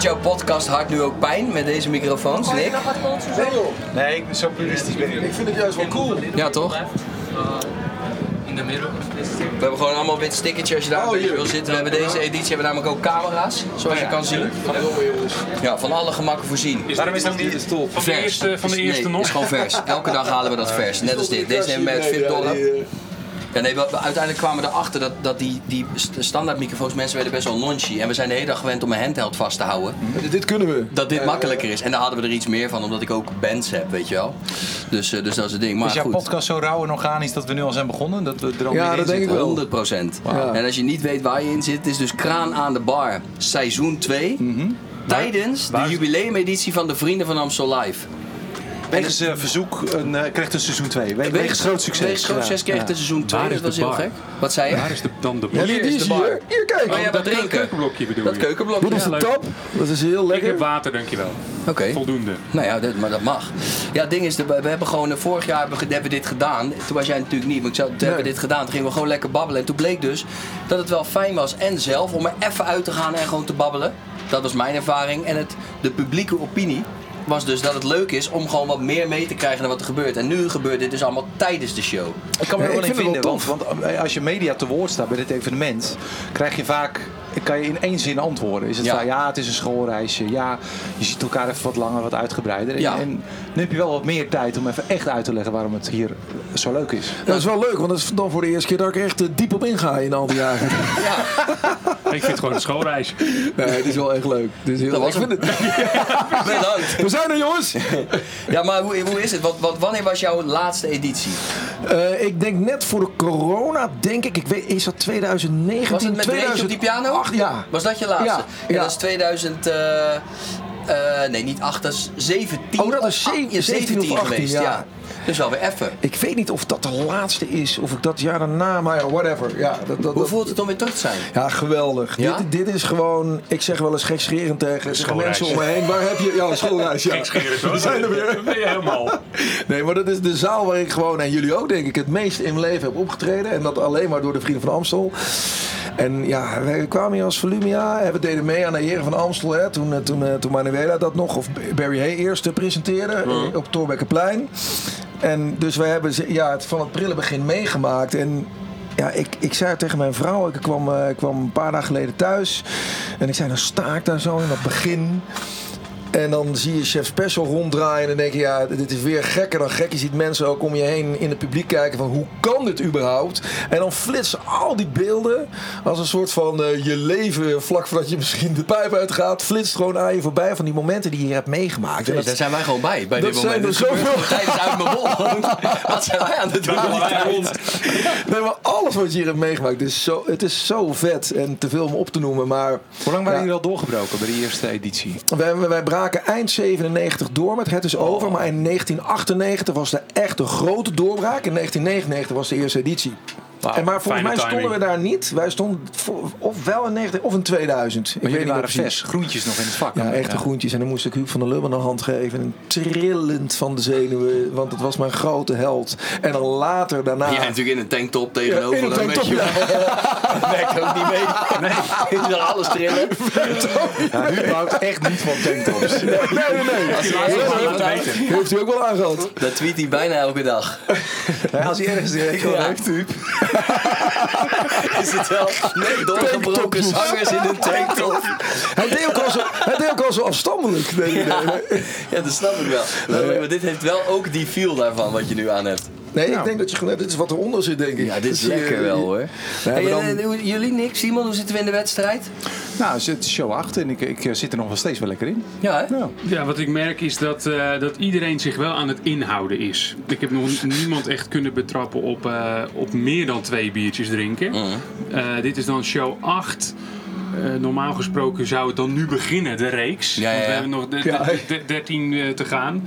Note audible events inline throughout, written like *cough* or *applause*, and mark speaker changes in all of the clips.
Speaker 1: jouw podcast hart nu ook pijn met deze microfoons, Nick?
Speaker 2: Nee joh,
Speaker 3: Nee, ik ben zo puristisch ben ik
Speaker 2: ik
Speaker 3: niet.
Speaker 2: vind het juist wel cool.
Speaker 1: Ja, toch?
Speaker 4: eh,
Speaker 5: In the middle of this
Speaker 1: We hebben gewoon allemaal wit stickertje als je daar
Speaker 2: Oh,
Speaker 1: een beetje
Speaker 2: hier.
Speaker 1: wil zitten. We hebben deze editie hebben namelijk ook camera's,
Speaker 4: Oh,
Speaker 1: zoals je kan zien.
Speaker 2: Verdomme jongens.
Speaker 1: Ja, van alle gemakken voorzien.
Speaker 3: Waarom is dat niet top?
Speaker 4: Van de eerste, van de
Speaker 1: Is-
Speaker 4: eerste
Speaker 1: nee,
Speaker 4: nog.
Speaker 1: is gewoon
Speaker 4: *laughs*
Speaker 1: vers. Elke dag halen we dat vers. Net als dit. Deze nemen we met 40 dollar. Ja, nee, we, we- uiteindelijk kwamen we erachter dat, dat die, die st- standaard microfoons, mensen werden best wel launchy. En we zijn de hele dag gewend om een handheld vast te houden.
Speaker 2: Dit, dit kunnen we.
Speaker 1: Dat dit makkelijker is. En daar hadden we er iets meer van, omdat ik ook bands heb, weet je wel. Dus, eh, dus dat is het ding. Maar
Speaker 3: Is jouw
Speaker 1: goed.
Speaker 3: podcast zo rauw en organisch dat we nu al zijn begonnen? Dat we er al
Speaker 2: Ja,
Speaker 3: middenin
Speaker 2: dat denk ik
Speaker 3: zitten?
Speaker 1: 100 procent.
Speaker 2: Ja.
Speaker 1: En als je niet weet waar je in zit, het is dus Kraan aan de Bar, seizoen 2.
Speaker 4: Mhm.
Speaker 1: Tijdens de jubileumeditie van de Vrienden van Amstel Live.
Speaker 3: Wegens eh, verzoek een, eh, krijgt een seizoen 2. Wegens, groot succes.
Speaker 1: Wegens groot succes kreeg
Speaker 3: Ja.
Speaker 1: het een seizoen 2,
Speaker 4: Waar
Speaker 1: dat
Speaker 4: is
Speaker 1: was
Speaker 4: de
Speaker 1: heel
Speaker 4: bar?
Speaker 1: gek. Wat zei je?
Speaker 4: Waar is de, dan de
Speaker 2: Ja,
Speaker 4: bar?
Speaker 2: die,
Speaker 1: is
Speaker 2: die is
Speaker 1: de bar.
Speaker 2: hier. Hier, kijk.
Speaker 1: Oh, jij
Speaker 4: dat
Speaker 1: wat drinken.
Speaker 4: keukenblokje bedoel
Speaker 1: Dat
Speaker 4: je?
Speaker 1: keukenblokje.
Speaker 2: Dit is
Speaker 1: ja.
Speaker 2: de
Speaker 4: leuk.
Speaker 2: tap. Dat is heel
Speaker 4: Ik heb
Speaker 2: lekker.
Speaker 4: water, dankjewel.
Speaker 1: Oké.
Speaker 4: Voldoende.
Speaker 1: Nou ja, dat, maar dat mag. Ja, het ding is, de- we hebben gewoon eh, vorig jaar hebben, we- hebben we dit gedaan. Toen was jij natuurlijk niet, maar ik zou, toen hebben we dit gedaan. Toen gingen we gewoon lekker babbelen. En toen bleek dus dat het wel fijn was en zelf om er even uit te gaan en gewoon te babbelen. Dat was mijn ervaring. En het, de publieke opinie was dus dat het leuk is om gewoon wat meer mee te krijgen dan wat er gebeurt. En nu gebeurt dit dus allemaal tijdens de show.
Speaker 3: Eh, Ik kan me
Speaker 2: Ja,
Speaker 3: er wel
Speaker 2: ik
Speaker 3: in
Speaker 2: vind het
Speaker 3: vinden,
Speaker 2: wel
Speaker 3: want, want eh, als je media te woord staat bij dit evenement, krijg je vaak, kan je in één zin antwoorden. Is het
Speaker 1: Ja.
Speaker 3: van ja, het is een schoolreisje, ja, je ziet elkaar even wat langer, wat uitgebreider. En-
Speaker 1: Ja.
Speaker 3: En, nu heb je wel wat meer tijd om even echt uit te leggen waarom het hier eh, zo leuk is.
Speaker 2: Ja, dat is wel leuk, want dat is dan voor de eerste keer dat ik er echt eh, diep op inga in al die
Speaker 4: *laughs*
Speaker 2: jaren.
Speaker 4: Ik vind het gewoon een schoolreis.
Speaker 2: Nee, het is wel echt leuk. Het is heel
Speaker 1: *laughs* Dat
Speaker 2: leuk.
Speaker 1: was
Speaker 2: Ik vind
Speaker 1: *laughs*
Speaker 2: het.
Speaker 1: Bedankt.
Speaker 2: We zijn er, jongens!
Speaker 1: *laughs* Ja, maar hoe, hoe is het? Want, want wanneer was jouw laatste editie?
Speaker 2: Eh, ik denk net voor de corona, denk ik. ik weet, is dat 2019?
Speaker 1: Was het met Reetje op die piano?
Speaker 2: 2008, ja.
Speaker 1: Was dat je laatste?
Speaker 2: Ja,
Speaker 1: En
Speaker 2: ja.
Speaker 1: dat is 2000... eh, eh, nee, niet 8, dat is 17.
Speaker 2: Oh, dat is
Speaker 1: Ah, je is
Speaker 2: 17 of 18,
Speaker 1: geweest, ja.
Speaker 2: ja.
Speaker 1: Dus wel weer effen.
Speaker 2: Ik weet niet of dat de laatste is, of ik dat jaar daarna, maar ja, whatever. Ja, dat, dat,
Speaker 1: Hoe
Speaker 2: dat-
Speaker 1: voelt het om weer terug te zijn?
Speaker 2: Ja, geweldig.
Speaker 1: Ja?
Speaker 2: Dit, dit is gewoon, ik zeg wel eens gekscherend tegen zeggen
Speaker 4: schoolreis.
Speaker 2: mensen om me heen. Waar heb je... Ja,
Speaker 4: *laughs*
Speaker 2: een schoolreis, ja.
Speaker 4: Ik scheer het hoor.
Speaker 2: We zijn er weer.
Speaker 4: Ben je helemaal.
Speaker 2: *laughs* Nee, maar dat is de zaal waar ik gewoon, en jullie ook denk ik, het meest in mijn leven heb opgetreden. En dat alleen maar door de Vrienden van Amstel. En ja, we kwamen hier als Volumia. en We deden mee aan de Heren van Amstel. Hè, toen, eh, toen, eh, toen Manuela dat nog, of Barry Hay eerst eh, presenteerde eh, op Torbekkenplein. En dus wij hebben ze- ja, het van het prille begin meegemaakt. En ja, ik, ik zei het tegen mijn vrouw. Ik kwam, eh, ik kwam een paar dagen geleden thuis. En ik zei, dan sta ik daar zo in dat begin. En dan zie je Chef Special ronddraaien en denk je, ja, dit is weer gekker dan gek. Je ziet mensen ook om je heen in het publiek kijken van, hoe kan dit überhaupt? En dan flitsen al die beelden als een soort van eh, je leven, vlak voordat je misschien de pijp uitgaat, flitst gewoon aan je voorbij van die momenten die je hebt meemaakt. En
Speaker 1: Nee,
Speaker 2: dat-
Speaker 1: daar zijn wij gewoon bij, bij
Speaker 2: dat
Speaker 1: dit moment.
Speaker 2: zijn er
Speaker 1: Dit gebeurt
Speaker 2: zoveel.
Speaker 1: gewoon *laughs* Tijdens uit mijn mond. *laughs* Wat zijn wij aan het doen?
Speaker 2: nee, maar alles wat je hier hebt meegemaakt, het is zo, het is zo vet en te veel om op te noemen, maar...
Speaker 3: Hoe lang waren
Speaker 2: Ja.
Speaker 3: jullie al doorgebroken bij de eerste editie?
Speaker 2: Wij, wij braken eind 97 door met Het is Over. Maar in 1998 was de echte grote doorbraak. In 1999 was de eerste editie.
Speaker 4: Wauw,
Speaker 2: en maar volgens
Speaker 4: fijne
Speaker 2: mij stonden
Speaker 4: timing.
Speaker 2: we daar niet. Wij stonden voor- of wel in 90, of in 2000.
Speaker 3: Maar jullie
Speaker 2: niet
Speaker 3: waren
Speaker 2: meer precies.
Speaker 3: vers, groentjes nog in het vak.
Speaker 2: Ja, echte groentjes. En dan moest ik Huub van der Lubben een hand geven. En trillend van de zenuwen. Want het was mijn grote held. En dan later daarna...
Speaker 1: Jij natuurlijk in een tanktop tegenover.
Speaker 2: in een
Speaker 1: dan
Speaker 2: tanktop,
Speaker 1: weet je- *laughs* Merkt ook niet mee. *laughs* Nee. Is er alles trillen?
Speaker 3: Ja, nu houdt echt niet van tanktops.
Speaker 2: Nee, nee, nee.
Speaker 1: Als hij
Speaker 4: Ja,
Speaker 1: ergens
Speaker 4: dat
Speaker 1: aan
Speaker 4: weet
Speaker 1: heeft,
Speaker 2: Heeft u ook wel aangehad?
Speaker 1: Dat tweet hij bijna elke dag. *laughs*
Speaker 2: Als hij ergens een hekel
Speaker 1: Ja. *laughs*
Speaker 2: heeft, Huub.
Speaker 1: Is het wel? Nee, doorgebroken
Speaker 2: Tanktopjes.
Speaker 1: zangers in een tanktop.
Speaker 2: Hij deed ook al zo, hij deed ook al zo afstandelijk. Nee, nee, nee.
Speaker 1: Ja, dat snap ik wel. Maar, maar dit heeft wel ook die feel daarvan wat je nu aan hebt.
Speaker 2: Nee, ik denk dat je gewoon... Dit is wat eronder zit, denk ik.
Speaker 1: Nou, Ja, dit is
Speaker 2: Dus, eh,
Speaker 1: lekker wel hoor.
Speaker 2: maar
Speaker 1: Hey,
Speaker 2: dan-
Speaker 1: en, eh, hoe- jullie, Nick, Simon, hoe zitten we in de wedstrijd?
Speaker 3: *laughs* nou, het is show 8 en ik, ik eh, zit er nog wel steeds wel lekker in.
Speaker 1: Ja, hè?
Speaker 3: Ja.
Speaker 4: Ja, wat ik merk is dat, eh, dat iedereen zich wel aan het inhouden is. Ik heb nog niemand echt kunnen betrappen op, eh, op meer dan twee biertjes drinken.
Speaker 1: Mm.
Speaker 4: Eh, dit is dan show 8. Eh, normaal gesproken zou het dan nu beginnen, de reeks.
Speaker 1: Ja, ja,
Speaker 4: Want we
Speaker 1: ja.
Speaker 4: hebben nog de- de-
Speaker 2: Ja.
Speaker 4: de- de- 13 eh, te gaan.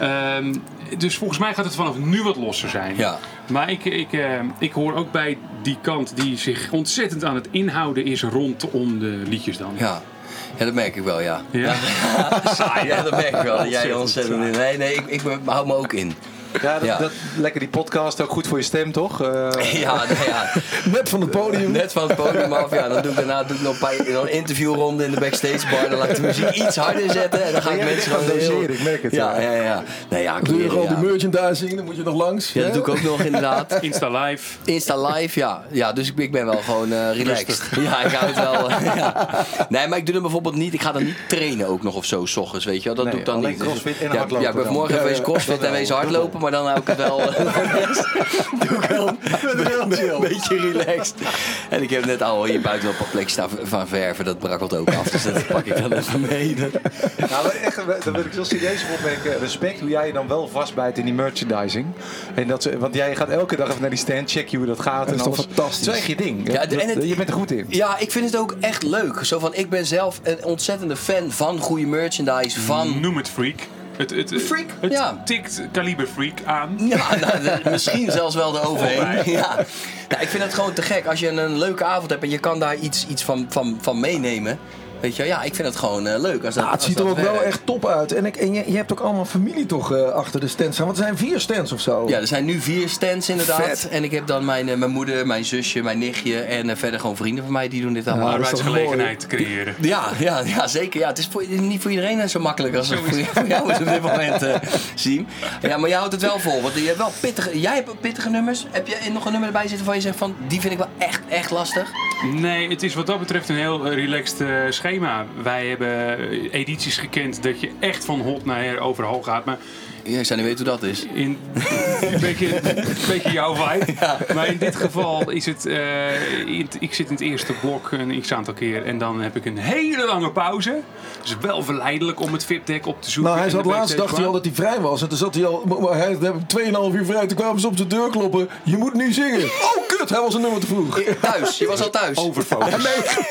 Speaker 4: Ehm, dus volgens mij gaat het vanaf nu wat losser zijn.
Speaker 1: Ja.
Speaker 4: Maar ik, ik, eh, ik hoor ook bij die kant die zich ontzettend aan het inhouden is rondom de liedjes dan.
Speaker 1: Ja. Ja, dat merk ik wel, ja.
Speaker 4: Ja.
Speaker 1: Ah, *laughs* Ja, dat merk ik wel. Dat jij er
Speaker 4: Ontzettend
Speaker 1: ontzettend in. Nee, nee, ik, ik ben- hou me ook in.
Speaker 3: Ja, dat,
Speaker 1: Ja.
Speaker 3: dat- lekker die podcast, ook goed voor je stem, toch? *laughs* Eh,
Speaker 1: *laughs* Ja, nou ja,
Speaker 2: Net van het podium.
Speaker 1: net van het podium af. Ja, dan doe ik daarna doe ik nog een paar, dan een interviewronde in de backstage bar. Dan laat ik de muziek iets harder zetten. En dan ga ik
Speaker 3: Ja, je
Speaker 1: mensen
Speaker 3: gaat
Speaker 1: gewoon heel-
Speaker 3: doseren, ik merk het,
Speaker 1: Ja,
Speaker 3: ja.
Speaker 1: ja, ja. Nee, ja,
Speaker 2: Doe je
Speaker 1: kleren,
Speaker 2: gewoon
Speaker 1: ja.
Speaker 2: die merchandising, dan moet je nog langs.
Speaker 1: Ja, dat
Speaker 2: hè?
Speaker 1: doe ik ook nog inderdaad.
Speaker 4: Insta live.
Speaker 1: Insta live, ja. ja dus ik, ik ben wel gewoon eh, relaxed. Ja, ik hou het wel. *laughs* ja. Nee, maar ik doe het bijvoorbeeld niet. Ik ga dan niet trainen ook nog of zo, s ochtends, weet je wel. Dat
Speaker 3: Nee,
Speaker 1: doe ik dan
Speaker 3: alleen
Speaker 1: niet.
Speaker 3: crossfit en
Speaker 1: ja,
Speaker 3: hardlopen
Speaker 1: Ja, ik ben
Speaker 3: dan.
Speaker 1: morgen
Speaker 2: Ja,
Speaker 1: wees
Speaker 2: ja,
Speaker 1: crossfit en wees hardlopen, maar dan hou ik het wel... doe ik *laughs* wel een beetje relaxed. En ik heb net al hier buiten op een plek staan van verven. Dat brakkelt ook af, dus dat pak ik dan even mee.
Speaker 3: Nou, maar echt, daar wil ik heel serieus op opmerken. Respect hoe jij je dan wel vastbijt in die merchandising. En dat, ze- want jij gaat elke dag even naar die stand, check je hoe dat gaat. en
Speaker 2: is toch
Speaker 3: alles.
Speaker 2: fantastisch?
Speaker 3: Het is echt je ding.
Speaker 1: Ja, en het-
Speaker 3: je bent er goed in.
Speaker 1: Ja, ik vind het ook echt leuk. Zo van, ik ben zelf een ontzettende fan van goede merchandise, van...
Speaker 4: Noem het freak. Het, het, het,
Speaker 1: Freak,
Speaker 4: het
Speaker 1: ja.
Speaker 4: tikt kaliber freak aan.
Speaker 1: Ja, *laughs* nou, de- misschien zelfs wel eroverheen. Ja. Nou, ik vind het gewoon te gek. Als je een, een leuke avond hebt en je kan daar iets, iets van, van, van meenemen. Weet je, wel. ja, ik vind het gewoon eh, leuk. Als dat,
Speaker 2: Ja, Nou, het
Speaker 1: als
Speaker 2: ziet er
Speaker 1: dat
Speaker 2: ook wel
Speaker 1: werkt.
Speaker 2: echt top uit. En, ik, en je, je hebt ook allemaal familie toch eh, achter de stand staan. Want er zijn vier stands of zo.
Speaker 1: Ja, er zijn nu vier stands inderdaad.
Speaker 2: Vet.
Speaker 1: En ik heb dan mijn, eh, mijn moeder, mijn zusje, mijn nichtje en eh, verder gewoon vrienden van mij die doen dit allemaal.
Speaker 2: Ja, dat is toch
Speaker 4: Arbeidsgelegenheid te creëren.
Speaker 1: Ja, ja, ja, zeker. Ja, het is voor, niet voor iedereen eh, zo makkelijk als het voor, voor jou is op dit moment, eh Siem. Ja, maar jij houdt het wel vol. Want je hebt wel pittige, jij hebt pittige nummers. Heb je nog een nummer erbij zitten waarvan je zegt van... die vind ik wel echt, echt lastig?
Speaker 4: Nee, het is wat dat betreft een heel eh, relaxed eh, schema. Wij hebben eh, edities gekend dat je echt van hot naar her overal gaat. Maar
Speaker 1: Ja, ik zou niet weten hoe dat is.
Speaker 2: *laughs*
Speaker 4: in een beetje, een beetje jouw vibe. Maar in dit geval is het. eh, in het- ik zit in het eerste blok een x aantal keer. En dan heb ik een hele lange pauze. Dus wel verleidelijk om het VIP-deck op te zoeken.
Speaker 2: Nou, hij
Speaker 4: en
Speaker 2: zat
Speaker 4: de
Speaker 2: laatst,
Speaker 4: backstage
Speaker 2: dacht hij al
Speaker 4: bar.
Speaker 2: dat hij vrij was. En toen zat hij al, maar- maar hij had 2,5 uur vrij. Toen kwamen ze op zijn deur kloppen. Je moet nu zingen. Oh, kut, hij was een nummer te vroeg. In
Speaker 1: Thuis, je was al thuis.
Speaker 4: Overfocus.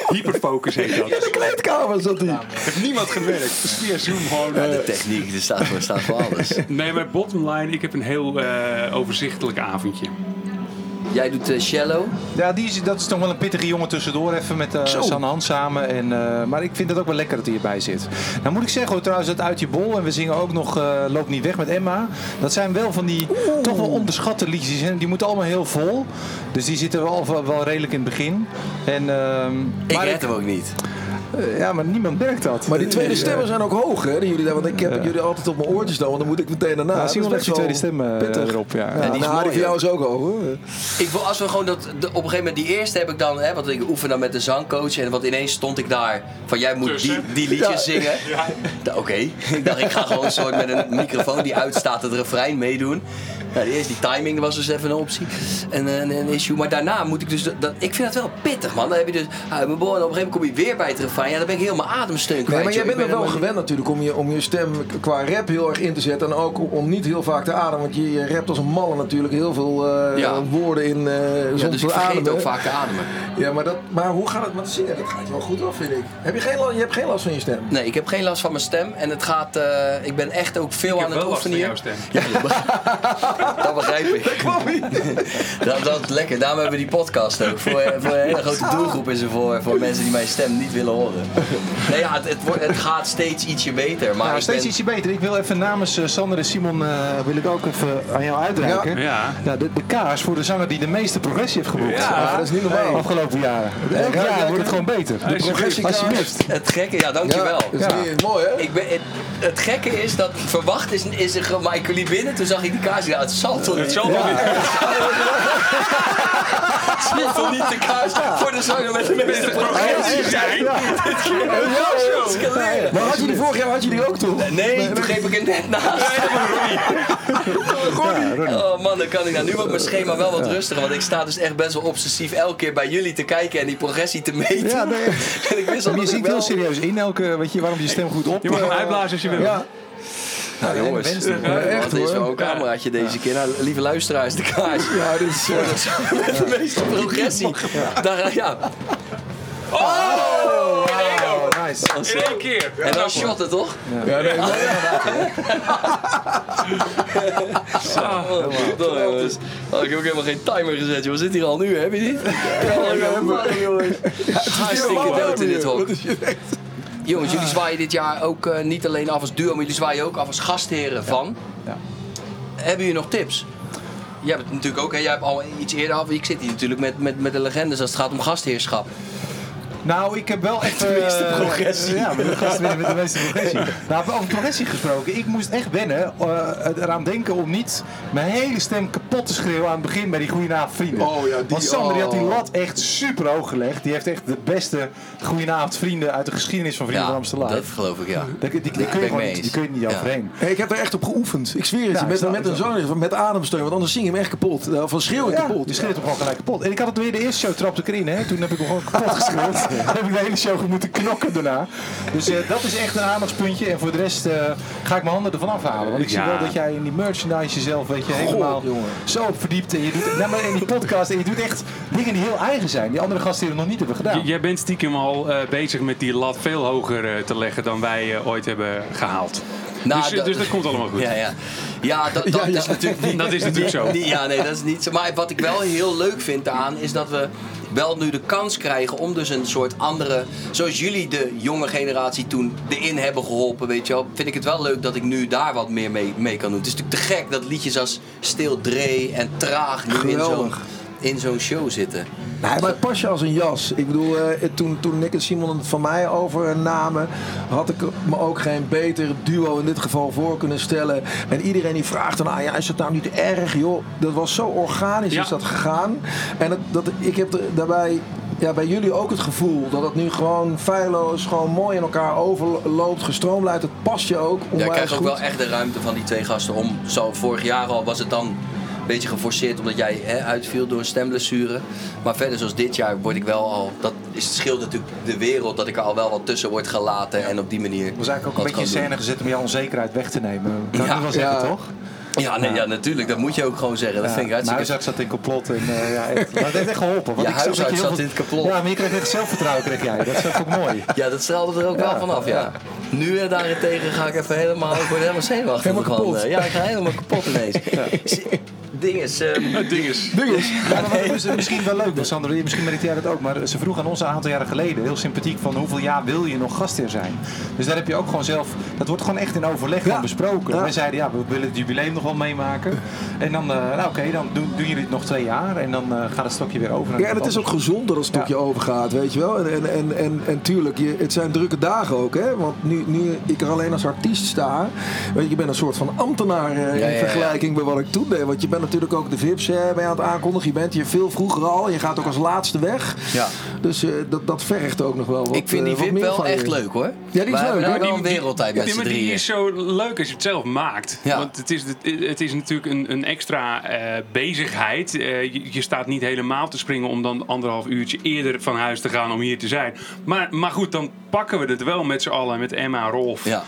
Speaker 4: Hyperfocus heet dat.
Speaker 2: de kleedkamer zat hij.
Speaker 3: Heeft niemand
Speaker 4: *laughs*
Speaker 3: gewerkt. Dus via Zoom gewoon.
Speaker 1: Ja, de techniek, er staat voor, staat voor alles.
Speaker 4: Nee, maar bottom line, ik heb een heel eh, overzichtelijk avondje.
Speaker 1: Jij doet eh, Shallow.
Speaker 3: Ja, die is, dat is toch wel een pittige jongen tussendoor. Even met eh
Speaker 2: Zo.
Speaker 3: Sanne Hans samen. En, eh, maar ik vind het ook wel lekker dat hij erbij zit. Nou moet ik zeggen hoor, trouwens dat Uit Je Bol. En we zingen ook nog eh, Loop Niet Weg met Emma. Dat zijn wel van die toch wel onderschatte liedjes. En die moeten allemaal heel vol. Dus die zitten wel, wel, wel redelijk in het begin. En, ehm,
Speaker 1: Ik
Speaker 3: maar
Speaker 1: red hem ook niet.
Speaker 3: eh, ja, maar niemand merkt dat.
Speaker 2: Maar die tweede
Speaker 3: Nee,
Speaker 2: stemmen
Speaker 3: eh,
Speaker 2: zijn ook hoog, hè? die jullie daar, want ik heb jullie altijd op mijn oortjes dan, want dan moet ik meteen daarna.
Speaker 3: nou, zie je
Speaker 2: Dat
Speaker 3: wel
Speaker 2: is
Speaker 3: even die tweede
Speaker 2: best wel
Speaker 3: stem eh,
Speaker 2: pittig.
Speaker 3: erop. Ja.
Speaker 1: die
Speaker 2: Ja, die
Speaker 1: is
Speaker 2: nou, die
Speaker 1: mooi,
Speaker 2: van jou is ook hoog, hoor.
Speaker 1: Ik wil, als we gewoon dat, de- op een gegeven moment die eerste heb ik dan, hè, want ik oefen dan met de zangcoach en wat ineens stond ik daar van jij moet die,
Speaker 4: Tussen.
Speaker 1: die liedjes zingen. Da- Oké, ik dacht ik ga gewoon een soort met een microfoon die uitstaat het refrein meedoen. Nou, eerst die timing was dus even een optie en een, een issue, maar daarna moet ik dus, dat, dat- ik vind dat wel pittig man. Dan heb je dus, ah, mijn boy, en op een gegeven moment kom je weer bij het refrein, ja dan ben ik helemaal ademsteun kwijt.
Speaker 2: Nee, maar jij
Speaker 1: joh. Ik
Speaker 2: bent nog
Speaker 1: ben
Speaker 2: wel
Speaker 1: helemaal-
Speaker 2: gewend natuurlijk om je, om je stem qua rap heel erg in te zetten. En ook om niet heel vaak te ademen. Want je, je rapt als een malle natuurlijk heel veel eh,
Speaker 1: Ja.
Speaker 2: woorden in eh
Speaker 1: Ja,
Speaker 2: zonder
Speaker 1: dus
Speaker 2: te
Speaker 1: ik vergeet
Speaker 2: ademen.
Speaker 1: ook vaak te ademen.
Speaker 2: Ja, maar, dat, maar hoe gaat het met zingen? Dat gaat je wel goed af, vind ik. Heb je, geen, la- je hebt geen last van je stem.
Speaker 1: Nee, ik heb geen last van mijn stem. En het gaat, eh, ik ben echt ook veel
Speaker 4: Ik
Speaker 1: aan
Speaker 4: heb
Speaker 1: het
Speaker 4: wel last van
Speaker 1: oefenen
Speaker 4: jouw
Speaker 1: hier.
Speaker 4: stem.
Speaker 1: Dat begrijp
Speaker 4: *laughs*
Speaker 1: ik. *laughs* Dat, dat is lekker. Daarom hebben we die podcast ook. Voor, eh, voor een
Speaker 4: *laughs*
Speaker 1: hele grote doelgroep is er voor, voor mensen die mijn stem niet willen horen. Nee, ja, het, het, wordt, het gaat steeds ietsje beter. Maar
Speaker 3: Nou,
Speaker 1: ik
Speaker 3: steeds
Speaker 1: ben-
Speaker 3: ietsje beter. Ik wil even namens eh, Sander en Simon eh, wil ik ook even aan jou uitreiken.
Speaker 4: Ja. Ja.
Speaker 3: Nou, de, de kaars voor de zanger die de meeste progressie heeft geboekt.
Speaker 4: Ja.
Speaker 3: Ah,
Speaker 2: dat is niet normaal.
Speaker 3: hey, Afgelopen jaren. Elk jaar
Speaker 2: ruik
Speaker 3: wordt
Speaker 2: lekker.
Speaker 3: het gewoon beter. De
Speaker 4: Alsjeblieft.
Speaker 3: progressie alsjeblieft.
Speaker 1: het gekke, ja, dankjewel.
Speaker 2: dat is
Speaker 3: Ja.
Speaker 2: niet- mooi, hè?
Speaker 1: Ik ben, het, het gekke is dat verwacht is, is er, maar ik liep binnen, toen zag ik die kaars. Ja, het zal toch niet.
Speaker 4: Het zal wel weer
Speaker 1: Het zal toch niet de kaars voor de zanger met de meeste progressie zijn. Dat is leren.
Speaker 2: Maar had je die vorig jaar had je die ook toch?
Speaker 1: Nee, toen greep ik het net naast. *laughs* Oh man, dan kan ik nou. Nu wordt mijn schema wel wat rustiger. Want ik sta dus echt best wel obsessief elke keer bij jullie te kijken en die progressie te meten.
Speaker 3: Ja, nee.
Speaker 1: *laughs* En ik wist al dat
Speaker 3: Maar je
Speaker 1: ik
Speaker 3: ziet heel
Speaker 1: wel...
Speaker 3: serieus in elke, weet je, waarom je stem goed op.
Speaker 4: Je mag hem
Speaker 3: eh,
Speaker 4: uitblazen als je wil.
Speaker 3: Ja,
Speaker 1: Nou jongens,
Speaker 3: Wens
Speaker 1: echt,
Speaker 3: toch,
Speaker 1: wat is wel een cameraatje deze keer. Nou, lieve luisteraars, de kaars. *laughs* Ja, dit is... Met de meeste progressie. Daar, ja.
Speaker 3: nice.
Speaker 4: in één keer.
Speaker 1: En dan shotten, toch?
Speaker 2: Ja, nee, maar-
Speaker 1: Oh, verdomme, jongens. Oh, ik heb ook helemaal geen timer gezet, joh. We zitten hier al nu, hè? heb je niet? Ja, man, jongens. Hartstikke
Speaker 2: warm
Speaker 1: dood in dit
Speaker 2: hier.
Speaker 1: hok. Jongens, jullie zwaaien dit jaar ook eh, niet alleen af als duo, maar jullie zwaaien ook af als gastheren van. Eh, hebben jullie nog tips? Jij hebt het natuurlijk ook, hè? jij hebt al iets eerder af. Ik zit hier natuurlijk met, met, met de legendes als het gaat om gastheerschap.
Speaker 3: Nou, ik heb wel echt... De
Speaker 2: meeste progressie.
Speaker 3: ja, met de, gasten met, met de meeste progressie. Nou, over progressie gesproken. Ik moest echt wennen, eh, eraan denken om niet mijn hele stem kapot te schreeuwen aan het begin bij die Goedenavond Vrienden.
Speaker 2: Oh ja, die-
Speaker 3: Want Sander die had die
Speaker 2: oh.
Speaker 3: lat echt super hoog gelegd. Die heeft echt de beste Goedenavond Vrienden uit de geschiedenis van Vrienden van Amsterdam.
Speaker 1: dat geloof ik, ja.
Speaker 3: Die, die, die
Speaker 1: ben
Speaker 3: kun
Speaker 1: ik
Speaker 3: je gewoon
Speaker 1: mee
Speaker 3: niet, die
Speaker 1: eens.
Speaker 3: kun je niet
Speaker 1: Ja.
Speaker 3: overheen.
Speaker 2: Hey, ik heb er echt op geoefend. Ik zweer het
Speaker 3: Ja,
Speaker 2: je.
Speaker 3: ik
Speaker 2: Met,
Speaker 3: snap-
Speaker 2: met
Speaker 3: ik
Speaker 2: een
Speaker 3: snap.
Speaker 2: zang, met ademsteun. Want anders zing je hem echt kapot. Eh, Van schreeuwen
Speaker 3: Ja,
Speaker 2: kapot.
Speaker 3: die schreeuwt hem gewoon gelijk kapot. En ik had het weer de eerste show trapte ik erin, hè. Toen heb ik hem gewoon
Speaker 2: *laughs*
Speaker 3: kapot geschreeuwd. Toen heb ik de hele show moeten knokken daarna. Dus eh, dat is echt een aandachtspuntje. En voor de rest eh, ga ik mijn handen ervan afhalen. Want ik zie
Speaker 4: Ja.
Speaker 3: wel dat jij in die merchandise jezelf, weet je, helemaal
Speaker 2: jongen.
Speaker 3: zo op verdiept. En je doet, nou, maar in die podcast, en je doet echt dingen die heel eigen zijn. Die andere gasten die het nog niet hebben gedaan.
Speaker 4: J- Jij bent stiekem al eh, bezig met die lat veel hoger eh, te leggen dan wij eh, ooit hebben gehaald.
Speaker 1: Nou,
Speaker 4: dus,
Speaker 1: dat-
Speaker 4: dus dat komt allemaal goed.
Speaker 1: Ja, ja. ja dat, dat,
Speaker 2: Ja, ja.
Speaker 1: is natuurlijk niet...
Speaker 4: Dat is natuurlijk zo.
Speaker 1: Nee, *laughs* ja, nee, dat is niet zo. Maar wat ik wel heel leuk vind daaraan is dat we wel nu de kans krijgen om dus een soort andere... Zoals jullie de jonge generatie toen erin hebben geholpen, weet je wel. Vind ik het wel leuk dat ik nu daar wat meer mee, mee kan doen. Het is natuurlijk te gek dat liedjes als Stil Dree en Traag nu in zo'n,
Speaker 2: Geweldig.
Speaker 1: in zo'n show zitten.
Speaker 2: Nee, maar het past je als een jas. Ik bedoel, eh, toen, toen Nick en Simon het van mij overnamen, had ik me ook geen beter duo in dit geval voor kunnen stellen. En iedereen die vraagt dan, ah ja, is dat nou niet erg, joh? Dat was zo organisch
Speaker 4: Ja.
Speaker 2: is dat gegaan. En dat, dat, ik heb er daarbij ja, bij jullie ook het gevoel dat het nu gewoon feilloos, gewoon mooi in elkaar overloopt, gestroomlijnd. Het past je ook
Speaker 1: Ja,
Speaker 2: onwijs
Speaker 1: ik krijg ook
Speaker 2: goed.
Speaker 1: wel echt de ruimte van die twee gasten om. Zo vorig jaar al was het dan een beetje geforceerd omdat jij hè, uitviel door een stemblessure. Maar verder zoals dit jaar word ik wel al. Dat is het scheelt natuurlijk de wereld dat ik er al wel wat tussen word gelaten en op die manier.
Speaker 3: We zijn ook een
Speaker 1: wat
Speaker 3: beetje in
Speaker 1: kan doen.
Speaker 3: scène gezet om jouw onzekerheid weg te nemen. Kan ik
Speaker 1: Ja,
Speaker 3: nu wel zeggen,
Speaker 2: ja.
Speaker 3: toch?
Speaker 1: Ja, nee, ja, natuurlijk. Dat moet je ook gewoon zeggen. Dat vind ik
Speaker 3: mijn
Speaker 1: hartstikke.
Speaker 3: huisarts zat in complot. En, eh, ja, echt. Maar het heeft echt geholpen. want
Speaker 1: Je
Speaker 3: ik zag dat
Speaker 1: huisarts
Speaker 3: heel
Speaker 1: zat
Speaker 3: veel-
Speaker 1: in het complot.
Speaker 3: Ja, maar je kreeg echt zelfvertrouwen, kreeg jij. Dat is ook mooi.
Speaker 1: Ja, dat stelde er ook wel vanaf, ja. Nu en daarentegen ga ik even helemaal, ik word helemaal zenuwachtig.
Speaker 2: Helemaal
Speaker 1: van,
Speaker 2: kapot.
Speaker 1: eh, Ja, ik ga helemaal kapot ineens. Ding is, ehm,
Speaker 4: Het ding is,
Speaker 3: Ja, maar dat is misschien wel leuk, want Sander, misschien merkt jij dat ook. Maar ze vroeg aan ons een aantal jaren geleden, heel sympathiek, van hoeveel jaar wil je nog gastheer zijn? Dus daar heb je ook gewoon zelf, dat wordt gewoon echt in overleg
Speaker 2: Ja.
Speaker 3: gewoon besproken.
Speaker 2: Ja.
Speaker 3: Wij zeiden, ja, we willen het jubileum nog wel meemaken. En dan, eh, nou oké, dan doen, doen jullie het nog twee jaar en dan eh, gaat het stokje weer over. naar
Speaker 2: Ja, en het
Speaker 3: iemand
Speaker 2: is ook
Speaker 3: anders.
Speaker 2: gezonder als het op je
Speaker 3: Ja.
Speaker 2: overgaat, weet je wel. En, en, en, en, en tuurlijk, je, het zijn drukke dagen ook, hè. Want nu, nu ik er alleen als artiest sta, weet je, je bent een soort van ambtenaar eh,
Speaker 1: ja, ja.
Speaker 2: in vergelijking met wat ik toen deed. Want je bent natuurlijk ook de VIP's, hè, ben je aan het aankondigen. Je bent hier veel vroeger al, je gaat ook als laatste weg.
Speaker 1: Ja.
Speaker 2: Dus eh, dat, dat vergt ook nog wel wat
Speaker 1: ik vind
Speaker 2: eh,
Speaker 1: die
Speaker 2: wat
Speaker 1: VIP
Speaker 2: meer
Speaker 1: wel
Speaker 2: van je.
Speaker 1: echt leuk hoor.
Speaker 2: Ja, die is
Speaker 1: We hebben
Speaker 2: leuk,
Speaker 1: daar
Speaker 2: hè?
Speaker 1: wel
Speaker 4: die-
Speaker 1: een
Speaker 4: die-
Speaker 1: wereldtijd met
Speaker 4: Ja,
Speaker 1: z'n
Speaker 4: maar
Speaker 1: drieën.
Speaker 4: die is zo leuk als je het zelf maakt.
Speaker 1: Ja.
Speaker 4: Want het is, het is natuurlijk een, een extra eh, bezigheid. Eh, je, je staat niet helemaal te springen om dan anderhalf uurtje eerder van huis te gaan om hier te zijn. Maar, maar goed, dan pakken we het wel met z'n allen, met Emma, Rolf.
Speaker 1: Ja.
Speaker 2: Ja,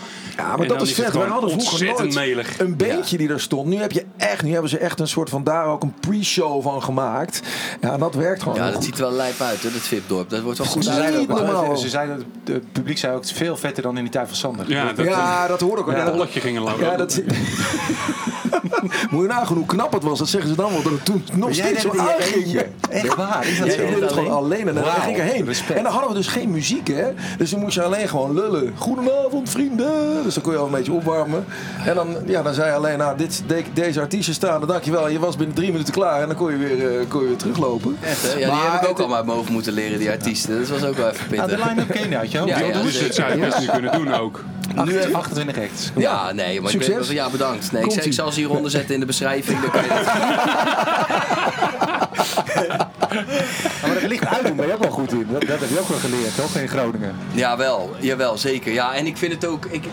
Speaker 4: En
Speaker 2: maar
Speaker 4: dan
Speaker 2: dat is
Speaker 4: is het
Speaker 2: vet. We
Speaker 4: gewoon
Speaker 2: hadden vroeger nooit
Speaker 4: ontzettend melig.
Speaker 2: een beentje die daar stond. Nu, heb je echt, nu hebben ze echt een soort van daar ook een pre-show van gemaakt. Ja, en dat werkt gewoon
Speaker 1: Ja,
Speaker 2: heel
Speaker 1: dat
Speaker 2: goed.
Speaker 1: ziet er wel lijp uit, hoor, dat VIP-dorp. Dat wordt wel goed
Speaker 2: Ze
Speaker 3: Ze
Speaker 1: uit.
Speaker 3: zeiden ook,
Speaker 2: Niet normaal.
Speaker 3: wel- eh, ze zeiden, het publiek zei ook, het is veel vetter dan in die tijd van Sander.
Speaker 4: Ja, dat
Speaker 2: Ja, dat hoorde ik ook.
Speaker 4: dat
Speaker 2: Ja, dat-
Speaker 4: bolletje ging lopen.
Speaker 2: Ja, dat... *laughs* Moet je nagaan hoe knap het was. Dat zeggen ze dan wel. Dat het toen nog
Speaker 3: Jij
Speaker 2: steeds
Speaker 3: deed
Speaker 2: zo
Speaker 3: het in je
Speaker 2: aanging.
Speaker 3: eentje. Echt waar, is dat
Speaker 2: Jij
Speaker 3: zo?
Speaker 2: deed het gewoon alleen en dan
Speaker 3: Wauw,
Speaker 2: ging ik erheen.
Speaker 3: respect.
Speaker 2: En dan hadden we dus geen muziek, hè. Dus dan moest je alleen gewoon lullen. Goedenavond, vrienden. Dus dan kon je al een beetje opwarmen. En dan, ja, dan zei je alleen, nou, dit, de- deze artiesten staan, dan dankjewel. Je was binnen drie minuten klaar en dan kon je weer, eh, kon je weer teruglopen.
Speaker 1: Echt, hè? Ja, die
Speaker 2: Maar
Speaker 1: heb ik ook
Speaker 2: het-
Speaker 1: allemaal mogen moeten leren, die artiesten. Dat was ook wel even
Speaker 3: Nou, de
Speaker 1: pittig.
Speaker 3: line-up ken je uit je hoofd.
Speaker 1: Ja, dus- ja,
Speaker 4: Dus dat zou je best nu kunnen doen ook.
Speaker 1: Nu heb-
Speaker 3: 28 rechts.
Speaker 1: Ja, nee, maar ik ben,
Speaker 2: Succes.
Speaker 1: ja, bedankt. Nee, ik,
Speaker 2: Komt-ie.
Speaker 1: ik zal ze hieronder zetten in de beschrijving.
Speaker 2: *laughs*
Speaker 1: Dan kan je dat-
Speaker 3: Maar dat licht uitdoen ben je ook wel goed in. Dat, dat heb je ook wel geleerd, toch? In Groningen.
Speaker 1: Jawel, jawel, zeker. Ja, en ik vind het ook. Ik,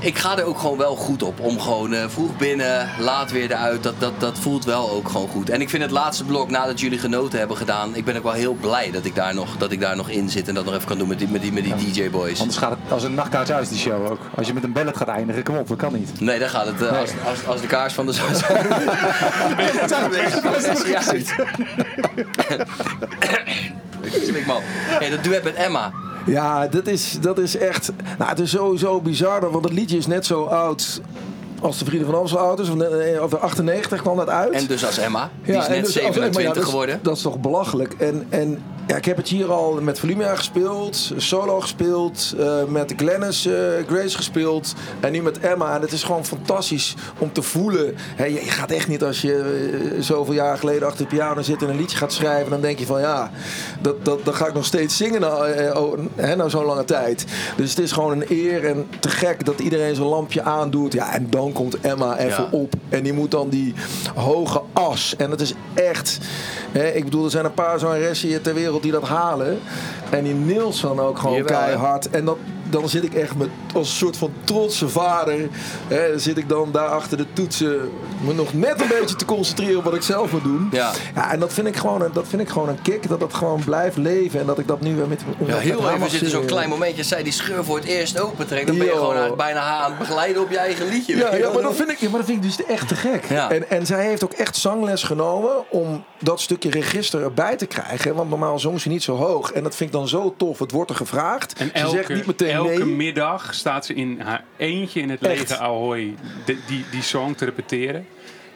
Speaker 1: ik ga er ook gewoon wel goed op. Om gewoon eh, vroeg binnen, laat weer eruit. Dat, dat, dat voelt wel ook gewoon goed. En ik vind het laatste blok nadat jullie genoten hebben gedaan. Ik ben ook wel heel blij dat ik daar nog, dat ik daar nog in zit. En dat nog even kan doen met die, met die, met die DJ-boys.
Speaker 3: Anders gaat het als een nachtkaart uit, die show ook. Als je met een ballet gaat eindigen, kom op, dat kan niet.
Speaker 1: Nee, daar gaat het. eh, Als, als, als de kaars van de zon.
Speaker 2: *laughs*
Speaker 1: Slik man. Hey, dat duet met Emma.
Speaker 2: Ja, dat is, dat is echt. Nou, het is sowieso bizar, want het liedje is net zo oud als de Vrienden van Amstel oud is, of, eh, of 98 kwam dat uit.
Speaker 1: En dus als Emma. Die is
Speaker 2: en
Speaker 1: net
Speaker 2: dus- als- maar ja,
Speaker 1: 27
Speaker 2: dat is-
Speaker 1: geworden.
Speaker 2: Dat is toch belachelijk. En, en ja, ik heb het hier al met Volumia gespeeld, solo gespeeld, eh, met Glennis eh, Grace gespeeld en nu met Emma. En het is gewoon fantastisch om te voelen. Hè, je, je gaat echt niet als je eh, zoveel jaar geleden achter de piano zit en een liedje gaat schrijven. Dan denk je van ja, dat, dat, dat ga ik nog steeds zingen na, eh, oh, hè, na zo'n lange tijd. Dus het is gewoon een eer en te gek dat iedereen zo'n lampje aandoet. Ja, en dan komt Emma even
Speaker 1: Ja.
Speaker 2: op op. En die moet dan die hoge as. En dat is echt. Hè, ik bedoel, er zijn een paar zangeressen hier ter wereld die dat halen. En die Niels dan ook gewoon
Speaker 1: Jawel, hè?
Speaker 2: keihard. En dat, dan zit ik echt met, als een soort van trotse vader. Hè, zit ik dan daar achter de toetsen. Me nog net een beetje te concentreren op wat ik zelf moet doen.
Speaker 1: Ja.
Speaker 2: ja en dat vind, ik gewoon, een- dat vind ik gewoon een kick. Dat dat gewoon blijft leven. En dat ik dat nu weer met. met
Speaker 1: Ja, heel
Speaker 2: haar
Speaker 1: even
Speaker 2: mag
Speaker 1: zit er zo'n
Speaker 2: zingen.
Speaker 1: klein momentje als zij die scheur voor het eerst opentrekt. Dan ben je
Speaker 2: Yo.
Speaker 1: gewoon aan- bijna haar aan het begeleiden op je eigen liedje.
Speaker 2: Ja,
Speaker 1: weet je
Speaker 2: ja,
Speaker 1: wel.
Speaker 2: maar, dat vind ik, ja, maar dat vind ik dus echt te gek.
Speaker 1: Ja.
Speaker 2: En, en zij heeft ook echt zangles genomen om dat stukje register erbij te krijgen. Want normaal zong ze niet zo hoog. En dat vind ik dan zo tof. Het wordt er gevraagd.
Speaker 4: En
Speaker 2: ze zegt
Speaker 4: elke,
Speaker 2: niet meteen
Speaker 4: elke
Speaker 2: nee.
Speaker 4: middag staat ze in haar eentje in het
Speaker 2: Echt.
Speaker 4: lege Ahoy de- die, die song te repeteren.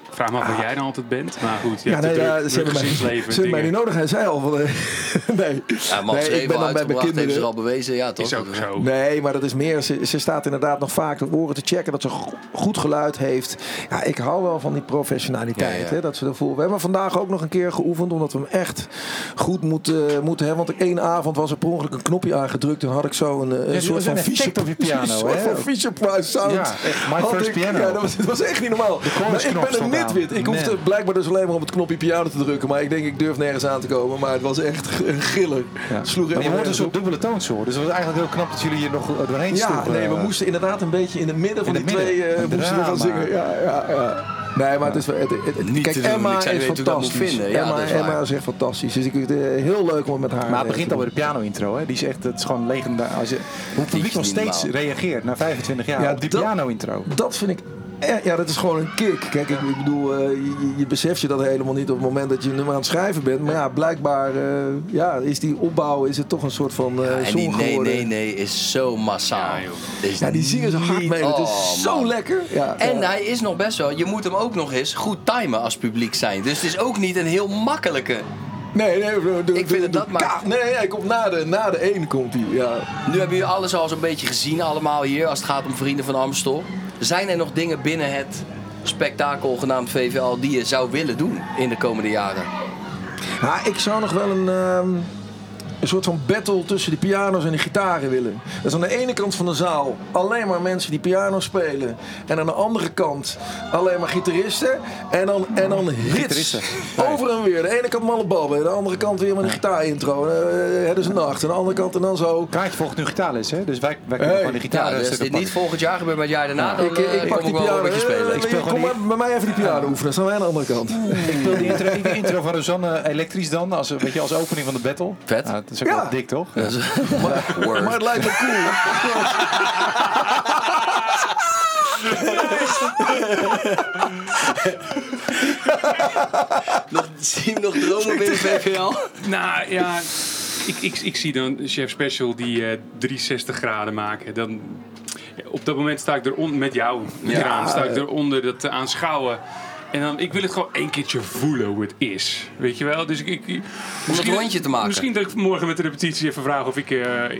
Speaker 4: Ik Vraag me af waar jij dan altijd bent. Maar goed, je
Speaker 2: Ah. Ja,
Speaker 4: hebt
Speaker 2: nee,
Speaker 4: een
Speaker 2: ja,
Speaker 4: druk,
Speaker 2: ze hebben
Speaker 4: druk
Speaker 2: mij, ze
Speaker 4: gezinsleven.
Speaker 2: hebben mij
Speaker 4: dingen.
Speaker 2: niet nodig. Hij zei al van... *laughs* eh, nee,
Speaker 1: Ja, man,
Speaker 2: nee ik ben dan bij mijn
Speaker 1: heeft ze
Speaker 2: kinderen.
Speaker 1: al bewezen. Ja, toch?
Speaker 4: Is ook zo.
Speaker 3: Nou.
Speaker 2: Nee, maar dat is meer. Ze, ze staat inderdaad nog vaak de oren te checken dat ze go- goed geluid heeft. Ja, ik hou wel van die professionaliteit.
Speaker 1: Ja, ja.
Speaker 2: Hè, dat ze ervoor. We hebben vandaag ook nog een keer geoefend, omdat we hem echt goed moeten, moeten hebben. Want één avond was er per ongeluk een knopje aangedrukt en had ik zo een, eh, een
Speaker 3: die
Speaker 2: soort
Speaker 3: was
Speaker 2: van
Speaker 3: een effect
Speaker 2: Fisher-
Speaker 3: op je piano,
Speaker 2: *laughs* een soort
Speaker 3: hè?
Speaker 2: van Fisher Price sound.
Speaker 3: Ja, echt. My
Speaker 2: Had
Speaker 3: first
Speaker 2: ik-
Speaker 3: piano.
Speaker 2: Ja, dat was, dat was echt niet normaal. Maar ik
Speaker 3: chorus-knop
Speaker 2: ben een
Speaker 3: stond aan.
Speaker 2: nitwit. Ik hoefde
Speaker 3: Man.
Speaker 2: blijkbaar dus alleen maar op het knopje piano te drukken. Maar ik denk, ik durf nergens aan te komen. Maar het was echt g- een giller.
Speaker 3: Ja. Maar
Speaker 2: Sloeg
Speaker 3: je
Speaker 2: helemaal
Speaker 3: hoort een
Speaker 2: nergens
Speaker 3: soort dubbele toonsoort. Dus het was eigenlijk heel knap dat jullie hier nog eh, doorheen
Speaker 2: ja,
Speaker 3: sloegen.
Speaker 2: nee, we moesten inderdaad een beetje in het midden van
Speaker 3: In
Speaker 2: die
Speaker 3: het
Speaker 2: twee
Speaker 3: midden.
Speaker 2: eh,
Speaker 3: Een
Speaker 2: moesten we gaan
Speaker 3: drama.
Speaker 2: zingen. Ja, ja, ja. Nee, maar het is wel. Het, het- het-
Speaker 1: Niet
Speaker 2: kijk,
Speaker 1: te doen.
Speaker 2: Emma
Speaker 1: Ik zou
Speaker 2: is
Speaker 1: niet weten hoe ik dat moet
Speaker 2: fantastisch.
Speaker 1: vinden. Ja,
Speaker 2: Emma,
Speaker 1: dat is waar.
Speaker 2: Emma is echt fantastisch. Dus ik vind het eh, heel leuk om het met
Speaker 3: Maar
Speaker 2: haar. eh,
Speaker 3: het begint
Speaker 2: te
Speaker 3: al bij
Speaker 2: doen.
Speaker 3: de piano-intro, hè? Die is echt, dat is gewoon legendarisch. Als je, hoe het publiek
Speaker 1: is
Speaker 3: nog
Speaker 1: niet
Speaker 3: steeds
Speaker 1: normaal.
Speaker 3: reageert na 25 jaar
Speaker 2: Ja,
Speaker 3: op die
Speaker 2: dat-
Speaker 3: piano-intro.
Speaker 2: Dat vind ik. eh, Ja, dat is gewoon een kick. Kijk, ik, ik bedoel, eh, je, je- je beseft je dat helemaal niet op het moment dat je een nummer aan het schrijven bent. Maar ja, blijkbaar eh, ja, is die opbouw is het toch een soort van eh
Speaker 1: En
Speaker 2: song
Speaker 1: die nee,
Speaker 2: geworden.
Speaker 1: nee, nee is zo massaal.
Speaker 4: Ja, joh.
Speaker 1: Dat is
Speaker 2: Ja, die zingen ze hard
Speaker 1: niet-
Speaker 2: mee. Dat
Speaker 1: Oh,
Speaker 2: is zo
Speaker 1: man.
Speaker 2: lekker. Ja,
Speaker 1: En
Speaker 2: ja.
Speaker 1: hij is nog best wel, je moet hem ook nog eens goed timen als publiek zijn. Dus het is ook niet een heel makkelijke.
Speaker 2: Nee, nee, bro, doe-
Speaker 1: Ik vind
Speaker 2: doe-
Speaker 1: dat
Speaker 2: doe-
Speaker 1: dat maakt-
Speaker 2: Nee, hij komt na de, na de één komt hij. Ja.
Speaker 1: Nu hebben jullie alles al zo'n beetje gezien allemaal hier als het gaat om Vrienden van Amstel. Zijn er nog dingen binnen het spektakel genaamd VVL die je zou willen doen in de komende jaren?
Speaker 2: Ja, ik zou nog wel een, ehm, een soort van battle tussen de piano's en de gitaren willen. Dus aan de ene kant van de zaal alleen maar mensen die piano spelen. En aan de andere kant alleen maar gitaristen. En dan, en dan hits.
Speaker 3: Gitaristen.
Speaker 2: Over en weer. De ene kant malle babben. De andere kant weer met een gitaarintro. Eh, Het is een nacht. Aan de andere kant en dan zo.
Speaker 3: Kaartje volgt nu gitaarles, hè? Dus wij, wij kunnen
Speaker 2: Hey.
Speaker 3: gewoon de
Speaker 1: Ja,
Speaker 3: gitaar eh,
Speaker 1: dus als
Speaker 3: stukken
Speaker 1: dit niet
Speaker 3: pakken.
Speaker 1: volgend jaar gebeurt, maar het jaar daarna, dan
Speaker 2: Ik, ik
Speaker 1: eh,
Speaker 2: pak
Speaker 1: kom
Speaker 2: die
Speaker 1: ik wel
Speaker 2: piano.
Speaker 1: een beetje spelen. *laughs*
Speaker 2: Eh,
Speaker 3: speel
Speaker 2: Kom
Speaker 3: gewoon
Speaker 2: maar bij mij even die piano oefenen. Dan staan wij aan de andere kant.
Speaker 3: Ik wil die intro, die intro van Rosanne eh, elektrisch dan, als, weet je, als opening van de battle.
Speaker 1: Vet.
Speaker 3: Nou, dat is ook
Speaker 2: Ja.
Speaker 3: wel dik, toch?
Speaker 1: Dat is- *laughs* Word.
Speaker 2: Maar het lijkt me cool.
Speaker 1: Nog- Zie je hem nog dromen binnen VVL?
Speaker 4: Nou ja, ik, ik, ik zie dan Chef Special die eh, 360 graden maken. Dan, op dat moment sta ik eronder, met jou, met
Speaker 1: Ja.
Speaker 4: Kraan, sta ik eronder dat te aanschouwen. En dan, ik wil het gewoon één keertje voelen hoe het is. Weet je wel? Dus ik, ik, ik- misschien-
Speaker 1: rondje te maken.
Speaker 4: Misschien dat ik morgen met de repetitie even vraag of ik eh,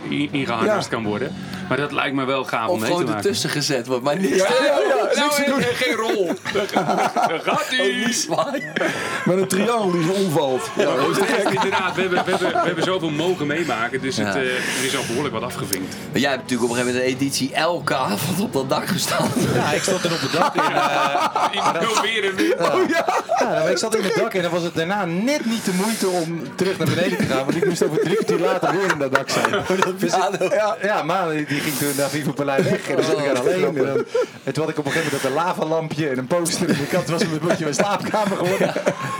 Speaker 4: in- ingehangest kan worden. Maar dat lijkt me wel gaaf om
Speaker 1: Of
Speaker 4: mee te
Speaker 1: gewoon
Speaker 4: maken.
Speaker 1: ertussen gezet wordt, maar niks.
Speaker 4: Nou, eh, eh, geen rol. Daar
Speaker 1: *laughs* Oh,
Speaker 4: gaat ie.
Speaker 1: Zwaaien.
Speaker 2: Met een triangel die zo omvalt. Ja, dat is te
Speaker 4: *laughs*
Speaker 2: gek.
Speaker 4: Inderdaad, we hebben, we, hebben, we hebben zoveel mogen meemaken, dus het,
Speaker 1: Ja.
Speaker 4: eh, er is al behoorlijk wat
Speaker 1: *laughs*
Speaker 4: afgevinkt.
Speaker 1: Maar Jij hebt natuurlijk op een gegeven moment een editie elke avond op dat dak gestaan.
Speaker 3: Ja, ik stond er op het dak.
Speaker 2: *laughs*
Speaker 3: En,
Speaker 4: Ik wil weer en weer.
Speaker 3: Ja, dan- ik zat in het dak en dan was het daarna net niet de moeite om terug naar beneden te gaan. Want ik moest over drie kwartier later weer in dat dak
Speaker 2: *laughs*
Speaker 3: zijn. Dus ik- ja, ja, maar die die ging toen naar Vivo Palais weg. En dan zat ik
Speaker 2: Oh,
Speaker 3: daar alleen. En, dan, en toen had ik op een gegeven moment dat een lavalampje en een poster in de kant was. Een beetje mijn slaapkamer geworden.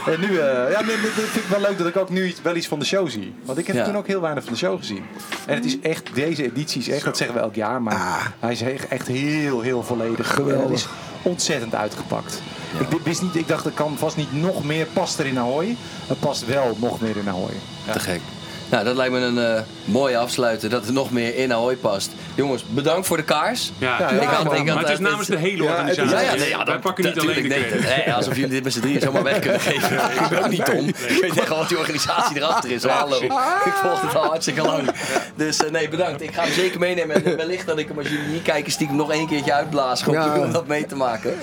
Speaker 3: En nu, eh, ja, nee, nee, dat vind ik wel leuk dat ik ook nu iets- wel iets van de show zie. Want ik heb
Speaker 1: Ja.
Speaker 3: toen ook heel weinig van de show gezien. En het is echt, deze editie is echt, dat zeggen we elk jaar. Maar hij is echt- echt heel, heel volledig. Geweldig. is ontzettend uitgepakt. Ik, dit wist niet, ik dacht, dat kan vast niet nog meer. Past er in Ahoy? Het past wel nog meer in Ahoy.
Speaker 1: Te gek. Nou, dat lijkt me een eh, mooie afsluiter. Dat er nog meer in Ahoy past. Jongens, bedankt voor de kaars.
Speaker 4: Ja,
Speaker 2: Ja,
Speaker 1: ik had-
Speaker 4: maar
Speaker 1: ik had
Speaker 4: het is
Speaker 1: echt-
Speaker 4: namens de hele
Speaker 2: Ja, het is-
Speaker 4: organisatie.
Speaker 1: Ja, ja, nee, ja,
Speaker 4: Wij
Speaker 1: dat-
Speaker 4: pakken niet alleen de
Speaker 1: natuurlijk, nee,
Speaker 4: credits.
Speaker 1: dat- nee, Alsof jullie dit met z'n drieën zomaar weg kunnen
Speaker 4: *laughs*
Speaker 1: geven. ik ben ook niet om. Ik weet echt wel wat die organisatie erachter is. hoor. Hallo. Ik volg het al hartstikke lang. Dus eh, nee, bedankt. Ik ga hem zeker meenemen. En wellicht dat ik hem als jullie niet kijken stiekem nog één keertje uitblaas. Gewoon
Speaker 2: Ja.
Speaker 1: om dat mee te maken.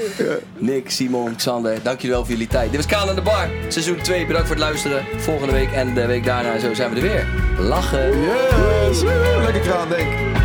Speaker 1: Nick, Simon, Xander, dank jullie wel voor jullie tijd. Dit was Kaan aan de Bar. Seizoen 2, bedankt voor het luisteren. Volgende week en de week daarna en zo zijn we er weer. Lachen.
Speaker 2: Yes! Woe, Lekker kraan, denk ik.